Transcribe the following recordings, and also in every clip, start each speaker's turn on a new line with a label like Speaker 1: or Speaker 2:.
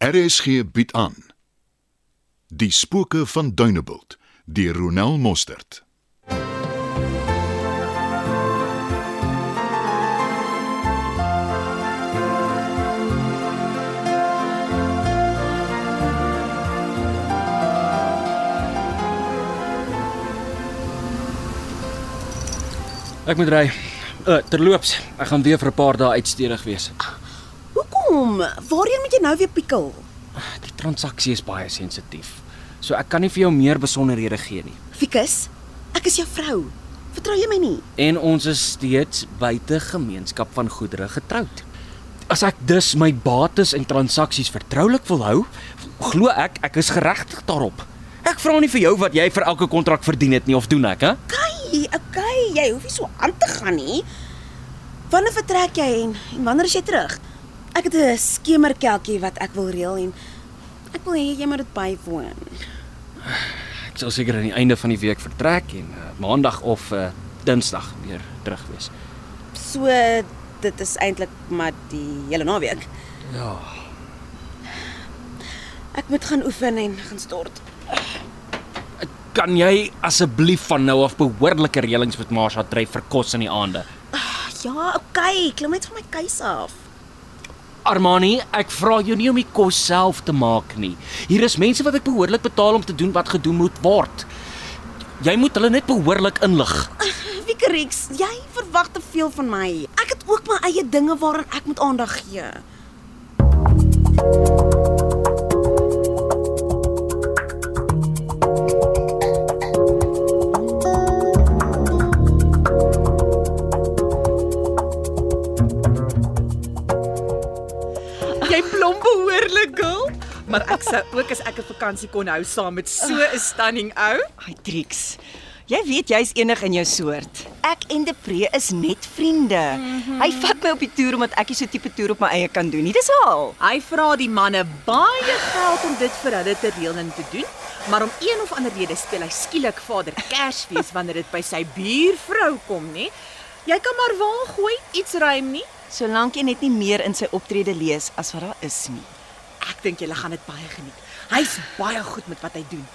Speaker 1: RSG bied aan Die spooke van Dunebuld deur Ronel Mostert.
Speaker 2: Ek moet ry. Uh, terloops, ek gaan weer vir 'n paar dae uitstedig wees.
Speaker 3: Hoekom? Waarheen moet jy nou weer pikkel?
Speaker 2: Die transaksie is baie sensitief. So ek kan nie vir jou meer besonderhede gee nie.
Speaker 3: Fikus, ek is jou vrou. Vertrou jy my nie?
Speaker 2: En ons is steeds buite gemeenskap van goedere getroud. As ek dus my bates en transaksies vertroulik wil hou, glo ek ek is geregtig daarop. Ek vra nie vir jou wat jy vir elke kontrak verdien het nie of doen ek, hè?
Speaker 3: Kai, okay, jy hoef nie so aan te gaan nie. Wanneer vertrek jy en, en wanneer is jy terug? Ek het 'n skemerkelkie wat ek wil reël en ek wil hê jy moet dit bywoon.
Speaker 2: Ek sal seker aan die einde van die week vertrek en uh, maandag of uh, Dinsdag weer terug wees.
Speaker 3: So dit is eintlik maar die hele naweek.
Speaker 2: Ja.
Speaker 3: Ek moet gaan oefen en gaan stort.
Speaker 2: Kan jy asseblief van nou af behoorlike reëlings met Marsha tref vir kos in die aande?
Speaker 3: Ja, okay, klim net van my keuse af.
Speaker 2: Armani, ek vra jou nie om die kos self te maak nie. Hier is mense wat ek behoorlik betaal om te doen wat gedoen moet word. Jy moet hulle net behoorlik inlig.
Speaker 3: Fikerix, jy verwag te veel van my. Ek het ook my eie dinge waaraan ek moet aandag gee.
Speaker 4: Jy blom behoorlik, girl. Maar ek sou ook as ek 'n vakansie kon hou saam met so 'n stunning ou.
Speaker 5: Ai Trix. Jy weet jy's enig in jou soort. Ek en Depree is net vriende. Mm
Speaker 3: Mhm.
Speaker 5: -hmm. Hy vat my op die toer omdat ek nie so tipe toer op my eie kan doen nie. Dis al.
Speaker 4: Hy vra die manne baie geld om dit vir hulle te reël en te doen, maar om een of ander rede speel hy skielik Vader Kersfees wanneer dit by sy buurvrou kom, nê? Jy kan maar waar gooi, iets ruim nie.
Speaker 5: Solank jy net nie meer in sy optrede lees as wat daar is nie.
Speaker 4: Ek dink julle gaan dit baie geniet. Hy's baie goed met wat hy doen.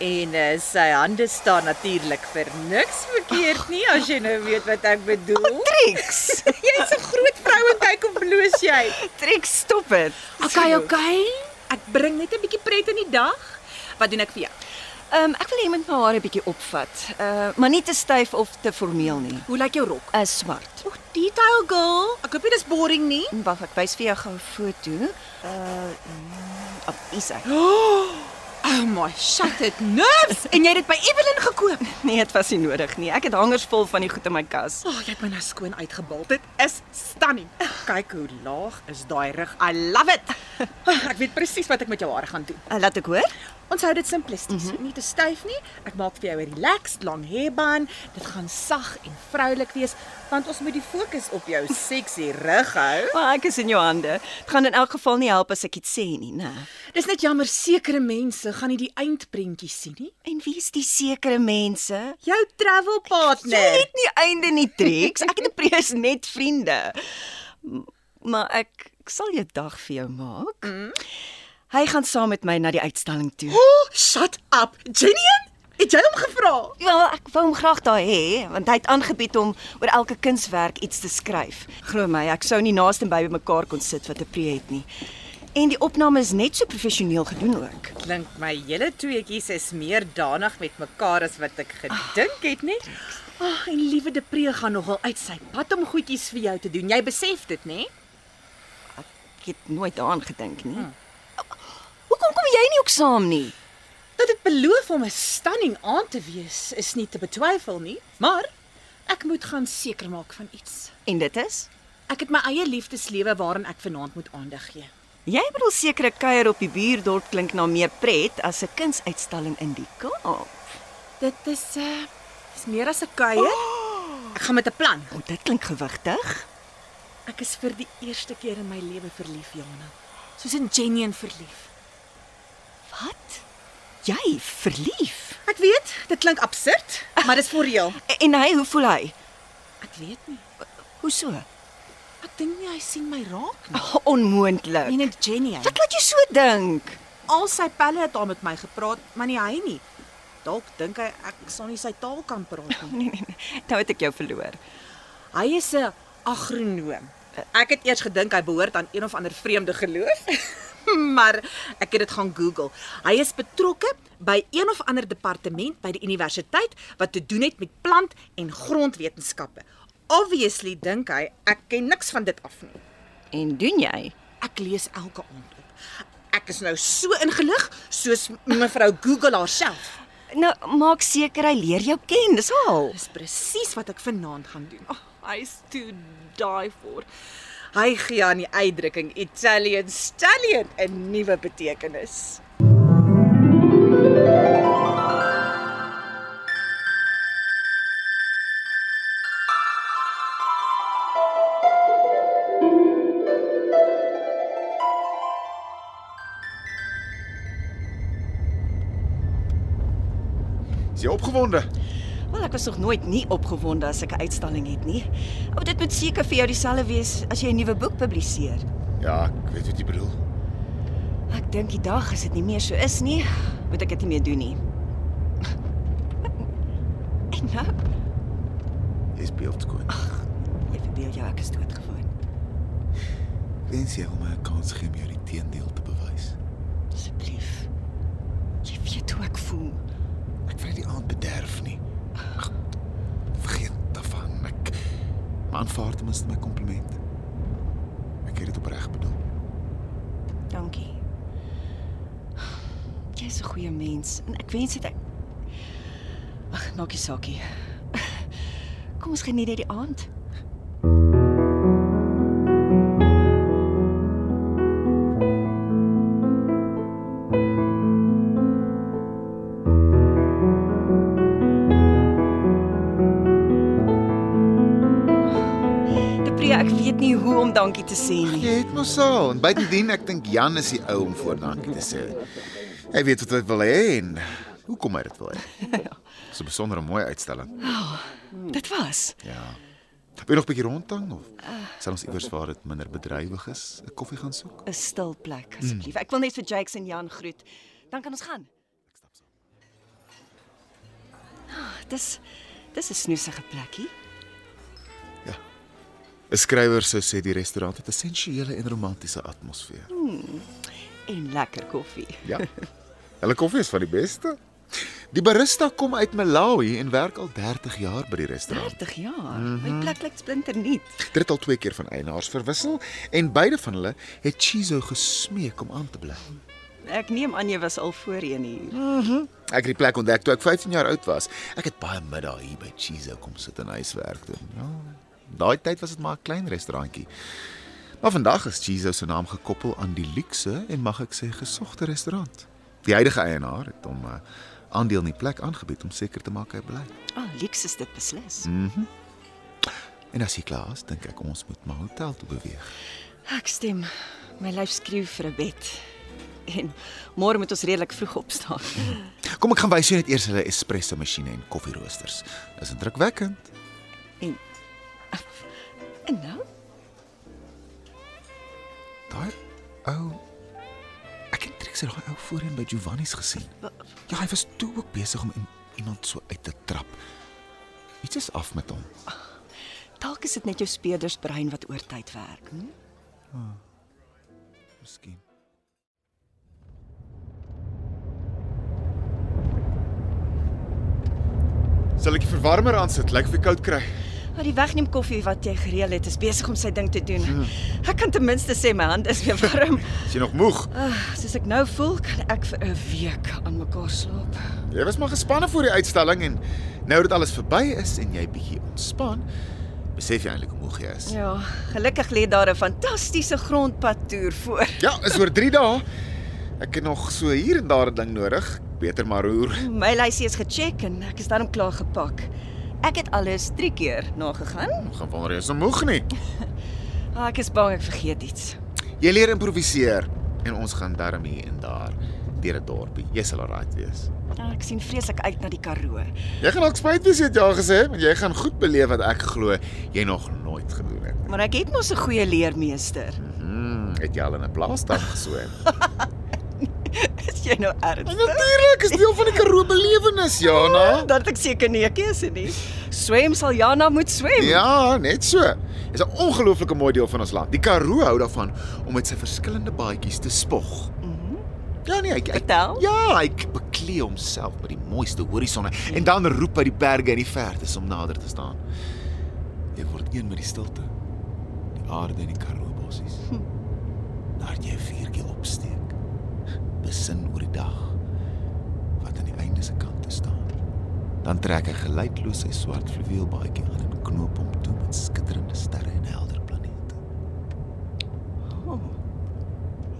Speaker 4: En uh, sy hande staan natuurlik vir niks verkeerd nie as jy nou weet wat ek bedoel.
Speaker 5: Trix.
Speaker 4: Oh, Jy's 'n groot vrou en kyk hoe bloos jy.
Speaker 5: Trix, stop dit.
Speaker 4: Okay, okay. Ek bring net 'n bietjie pret in die dag. Wat doen ek vir jou?
Speaker 5: Ehm um, ek wil hê jy moet my hare bietjie opvat. Uh maar nie te styf of te formeel nie.
Speaker 4: Hoe lyk jou rok?
Speaker 5: Uh swart.
Speaker 4: Oeg, detail girl. Ek hoop dit is boring nie.
Speaker 5: En Wag, ek wys vir jou gou 'n foto. Uh op Isa.
Speaker 4: Oh my, shut it nerves. en jy het dit by Evelyn gekoop.
Speaker 5: Nee, dit was nie nodig nie. Ek het hangers vol van die goed in my kas.
Speaker 4: O, oh, jy het my nou skoon uitgebal. Dit is stunning. Kyk hoe laag is daai rug. I love it. Ek weet presies wat ek met jou hare gaan doen.
Speaker 5: Uh, laat ek hoor.
Speaker 4: Ons hou dit simplisties, mm -hmm. nie te styf nie. Ek maak vir jou 'n relaxed lang hairband. Dit gaan sag en vroulik wees, want ons moet die fokus op jou sexy rug hou.
Speaker 5: Maar ek is in jou hande. Dit gaan in elk geval nie help as ek iets sê nie, né?
Speaker 4: Dis net jammer sekere mense gaan nie die eindprentjie sien nie.
Speaker 5: En wie is die sekere mense?
Speaker 4: Jou travel
Speaker 5: Jy
Speaker 4: partner.
Speaker 5: het nie einde nie, Trix. Ek en Depree is net vriende. M- Maar ek, ek sal jou dag vir jou maak. Mm. Hy gaan saam met my na die uitstalling toe.
Speaker 4: Oh, shut up. Jenny, het jy hom gevra?
Speaker 5: Ja, ek wou hom graag daai hê, want hy het aangebied om oor elke kunswerk iets te skryf. Glo my, ek sou nie naaste by mekaar kon sit wat 'n pree het nie. En die opname is net so professioneel gedoen ook.
Speaker 4: Klink my julle tweetjies is meer danig met mekaar as wat ek gedink het, nê? Ag, Ah, en liewe Depree gaan nogal uit sy pad om goedjies vir jou te doen. Jy besef dit, nê?
Speaker 5: Ek het nooit daaraan gedink nie. Hoekom kom jy nie ook saam nie?
Speaker 4: Dat dit beloof om 'n stunning aan te wees is nie te betwyfel nie, maar ek moet gaan seker maak van iets.
Speaker 5: En dit is?
Speaker 4: Ek het my eie liefdeslewe waarin ek vanaand moet aandag gee.
Speaker 5: Jy bedoel sekere kuier op die buurdorp klink na meer pret as 'n kunsuitstalling in die Kaap.
Speaker 4: Dit is 'n uh, is meer as 'n kuier. Ah! Ek gaan met 'n plan.
Speaker 5: O, dit klink gewigtig.
Speaker 4: Ek is vir die eerste keer in my lewe verlief, Jana. Soos in Jenny verlief.
Speaker 5: Wat? Jy verlief?
Speaker 4: Ek weet, dit klink absurd, maar dis vir reël.
Speaker 5: En hy, hoe voel hy?
Speaker 4: Ek weet nie.
Speaker 5: Hoe so?
Speaker 4: Ek Ek dink nie hy sien my raak nie.
Speaker 6: Oh, onmoontlik.
Speaker 4: En dit Jenny. hy-
Speaker 6: Wat laat jou so dink?
Speaker 4: Al sy pelle het daar met my gepraat, maar nie hy nie. Dalk dink hy ek sal nie sy taal kan praat nie.
Speaker 6: Nee nee nee. Nou het ek jou verloor.
Speaker 4: Hy is 'n agronoom. Ek het eers gedink hy behoort aan een of ander vreemde geloof, maar ek het dit gaan Google. Hy is betrokke by een of ander departement by die universiteit wat te doen het met plant- en grondwetenskappe. Obviously dink hy ek ken niks van dit af nie.
Speaker 6: En doen jy?
Speaker 4: Ek lees elke aand op. Ek is nou so ingelig soos mevrou Google haarself.
Speaker 6: Nou maak seker hy leer jou ken, dis al.
Speaker 4: Dis presies wat ek vanaand gaan doen. Oh,
Speaker 6: Hy's toe daai voor.
Speaker 4: hy gee aan die uitdrukking Italian stallion 'n nuwe betekenis.
Speaker 7: Is jy opgewonde?
Speaker 6: Wel ek was nog nooit nie opgewonde as ek 'n uitstalling het nie. Ou dit moet seker vir jou dieselfde wees as jy 'n nuwe boek publiseer.
Speaker 7: Ja, ek weet wat jy bedoel.
Speaker 6: Ek dink die dag as dit nie meer so is nie, moet ek dit nie meer doen nie. En nou,
Speaker 7: Jy's beeldskoon.
Speaker 6: jy verbeel jou ek is doodgewoon.
Speaker 7: Wens jy hom 'n kans gee om jou die teendeel te bewys.
Speaker 6: Asseblief. Jy weet hoe ek voel.
Speaker 7: Ek wil nie die aand bederf nie. Ag, vergeet daarvan. Ek maar aanvaar ten minste my kompliment. Ek het dit opreg bedoel.
Speaker 6: Dankie. Jy's 'n goeie mens en ek wens dit ek Ag, maakie saakie. Kom ons geniet hierdie aand. Depre, ek weet nie hoe om dankie te sê nie.
Speaker 7: Jy het mos al. En buitendien, ek dink Jan is die ou om voordankie te sê. Hy weet wat hy wil hê en hoekom hy dit wil hê. Ja. Dis 'n besondere mooi uitstalling.
Speaker 6: Dit was.
Speaker 7: Ja. Wil jy nog 'n bietjie rondhang of sal ons iewers waar dit minder bedrywig is, 'n koffie gaan soek?
Speaker 6: 'n stil plek asseblief. Ek wil net vir Jakes en Jan groet. Dan kan ons gaan. Ah, dis dis 'n snoesige plekkie.
Speaker 7: 'n Skrywer sou sê die restaurant het 'n sensuele en romantiese atmosfeer.
Speaker 6: En lekker koffie.
Speaker 7: Ja. Hulle koffie is van die beste. Die barista kom uit Malawi en werk al 30 jaar by die restaurant.
Speaker 6: 30 jaar. My plek lyk splinternuut.
Speaker 7: Dit het al twee keer van eienaars verwissel en beide van hulle het Chizo gesmeek om aan te bly.
Speaker 6: Ek neem aan jy was al voorheen hier.
Speaker 7: Ek het die plek ontdek toe ek 15 jaar oud was. Ek het baie middag hier by Chizo kom sit en huiswerk doen. Ja. Daai tyd was dit maar 'n klein restaurantjie. Maar vandag is Chizo se naam gekoppel aan die luukse en mag ek sê gesogte restaurant. Die huidige eienaar het hom 'n uh, aandeel in die plek aangebied om seker te maak hy bly.
Speaker 6: Ah, oh, lieks is dit beslis.
Speaker 7: En as hy klaar is, dink ek ons moet maar hotel toe beweeg.
Speaker 6: Ek stem. My lyf skreeu vir 'n bed. En môre moet ons redelik vroeg opstaan.
Speaker 7: Kom ek gaan wys jou net eers hulle espresso masjiene en koffieroosters. Is indrukwekkend.
Speaker 6: En nou?
Speaker 7: Daai ou ek het Trix daai ou voorheen by Giovanni's gesien. Ja, hy was toe ook besig om in, iemand so uit te trap. Iets is af met hom.
Speaker 6: Dalk is dit net jou speerdersbrein wat oortyd werk. Hm?
Speaker 7: Miskien. Sal ek die verwarmer aan sit? Lyk of ek koud kry.
Speaker 6: Maar die wegneem koffie wat jy gereël het is besig om sy ding te doen. Ek kan ten minste sê my hand is weer warm.
Speaker 7: Is jy nog moeg?
Speaker 6: Ah, soos ek nou voel, kan ek vir 'n week aan mekaar slaap.
Speaker 7: Jy was maar gespanne voor die uitstalling en nou dat alles verby is en jy bietjie ontspan, besef jy eintlik hoe moeg jy is.
Speaker 6: Ja, gelukkig lê daar 'n fantastiese grondpad toer voor.
Speaker 7: Ja, is oor 3 dae. Ek het nog so hier en daar 'n ding nodig. Beter maar roer.
Speaker 6: My lysie is gecheck en ek is daarom klaar gepak. Ek het alles 3 keer nagegaan.
Speaker 7: Gaan wonder jy is nou moeg nie.
Speaker 6: Ah, ek is bang ek vergeet iets.
Speaker 7: Jy leer improviseer en ons gaan darm hier en daar deur 'n dorpie. Jy sal alraai wees.
Speaker 6: Ah, ek sien vreeslik uit na die Karoo.
Speaker 7: Jy gaan ook spyt wees jy het ja gesê, want jy gaan goed beleef wat ek glo jy nog nooit gedoen het nie.
Speaker 6: Maar ek het mos 'n goeie leermeester.
Speaker 7: Mm, het jy al in 'n plaasdag geswem?
Speaker 6: Is jy nou ernstig?
Speaker 7: Natuurlik, is deel van die Karoo belewenis, Jana.
Speaker 6: Dat ek seker nee keuse nie. Swem sal Jana moet swem.
Speaker 7: Ja, net so. Dit is 'n ongelooflike mooi deel van ons land. Die Karoo hou daarvan om met sy verskillende baadjies te spog. Ja nee, hy hy-
Speaker 6: Vertel.
Speaker 7: Ja, hy beklee homself met die mooiste horisonne en dan roep hy die berge in die verte om nader te staan. Jy word een met die stilte, die aarde en die Karoo bossies. Daar jy 'n vuurtjie opsteek. Besin oor die dag wat aan die einde se kant te staan. Dan trek hy geluidloos sy swart fluweelbaadjie aan en knoop hom toe met skitterende sterre en helder planete.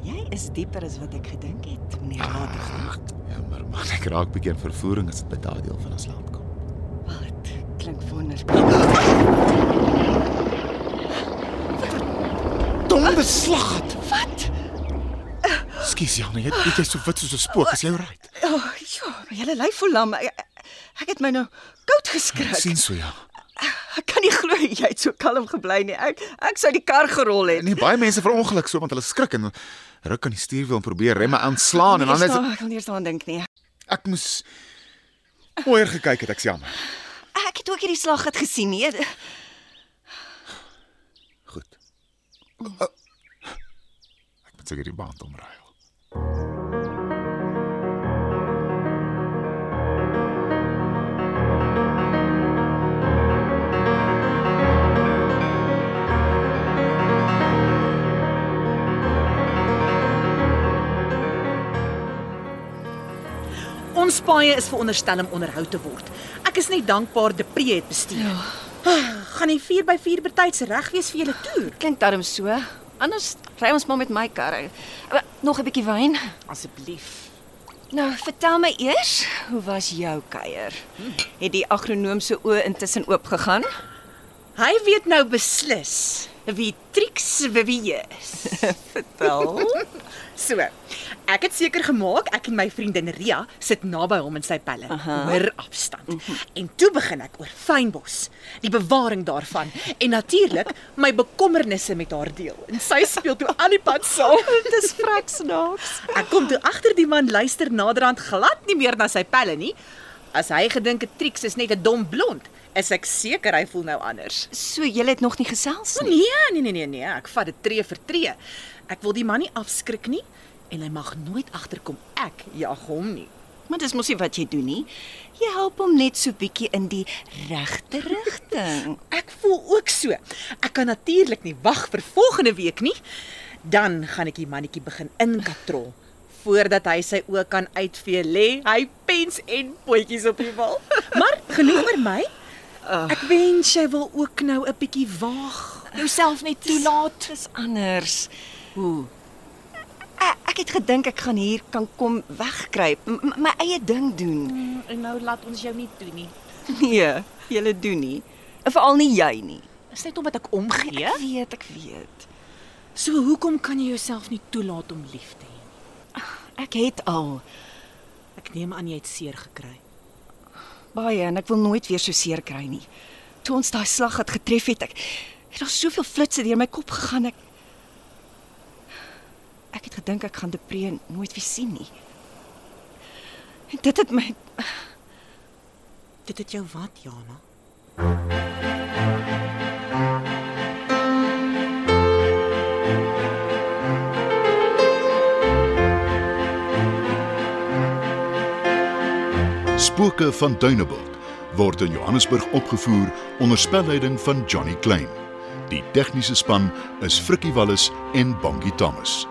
Speaker 6: Jy is dieper as wat ek gedink het, meneer Lategan.
Speaker 7: Ag, jammer man, ek raak bietjie in vervoering as dit by daardie deel van ons land kom.
Speaker 6: Wat klink wonderlik.
Speaker 7: Dom beslag het. Wat? Skus Jan, jy weet jy's so wit soos 'n spook, is jy reg?
Speaker 6: O, oh, ja, my hele lyf voel lam. Ek, ek het my nou koud
Speaker 7: Ek
Speaker 6: geskrik.
Speaker 7: sien so ja.
Speaker 6: Ek kan nie glo jy het so kalm gebly nie. Ek ek sou die kar gerol het.
Speaker 7: Nee, baie mense verongeluk so want hulle skrik en ruk aan die stuurwiel en probeer remme aanslaan en dan
Speaker 6: Eers
Speaker 7: is
Speaker 6: daar-
Speaker 7: dit
Speaker 6: ek kan nie eens daaraan dink nie.
Speaker 7: ek moes mooier gekyk het, ek se jammer.
Speaker 6: Ek het ook hierdie slag het gesien. Nee,
Speaker 7: Goed. Ek moet seker die band omruil.
Speaker 4: Ons paaie is veronderstel om onderhou te word. Ek is net dankbaar Depree het bestuur. Ja. Gaan die 4x4 betyds reg wees vir julle toer?
Speaker 6: klink darm so. Anders ry ons maar met my kar. Maar Nog 'n bietjie wyn.
Speaker 4: Asseblief.
Speaker 6: Nou, vertel my eers, hoe was jou kuier? Het die agronoom se oë intussen oop gegaan?
Speaker 4: Hy weet nou beslis wie Trix wie is.
Speaker 6: Wel,
Speaker 4: So, ek het seker gemaak ek en my vriendin Ria sit naby hom in sy pelle, hoër afstand.
Speaker 6: Mhm.
Speaker 4: En toe begin ek oor fynbos, die bewaring daarvan en natuurlik my bekommernisse met haar deel. En sy speel toe aan die pad saam.
Speaker 6: dit is vreksnaaks.
Speaker 4: Ek kom toe agter die man luister naderhand glad nie meer na sy pelle nie. As hy gedink het Trix is net 'n dom blond, is ek seker hy voel nou anders.
Speaker 6: So jy het nog nie gesels nie.
Speaker 4: Nee, nee nee nee nee, ek vat dit tree vir tree. Ek wil die man nie afskrik nie en hy mag nooit agterkom ek jag hom nie.
Speaker 6: Maar dis mos nie wat jy doen nie. Jy help hom net so bietjie in die regte rigting.
Speaker 4: Ek voel ook so. Ek kan natuurlik nie wag vir volgende week nie. Dan gaan ek die mannetjie begin inkatrol voordat hy sy oë kan uitvee lê hy pens en potjies op die wal. Maar genoeg oor my. Ek wens jy wil ook nou 'n bietjie waag.
Speaker 6: Jouself net toelaat is anders. Hoe? Ek, ek het gedink ek gaan hier kan kom wegkruip, m- m- my eie ding doen.
Speaker 4: En nou laat ons jou nie toe nie.
Speaker 6: Nee, jy doen nie. Nee? En Veral nie jy nie.
Speaker 4: Is net omdat ek omgee.
Speaker 6: Ek weet, ek weet.
Speaker 4: So hoekom kan jy jouself nie toelaat om lief te hê? nie?
Speaker 6: Ek het al
Speaker 4: Ek neem aan jy het seer gekry.
Speaker 6: baie en ek wil nooit weer so seer kry nie. Toe ons daai slag het getref het, ek het daar soveel flitsse deur my kop gegaan ek ek het gedink ek gaan depree nooit weer sien nie. En dit het my
Speaker 4: Dit het jou wat, Jana?
Speaker 1: Spooke van Duneveld word in Johannesburg opgevoer onder spelleiding van Johnny Klein. Die tegniese span is Frikkie Wallis en Bongie Thomas.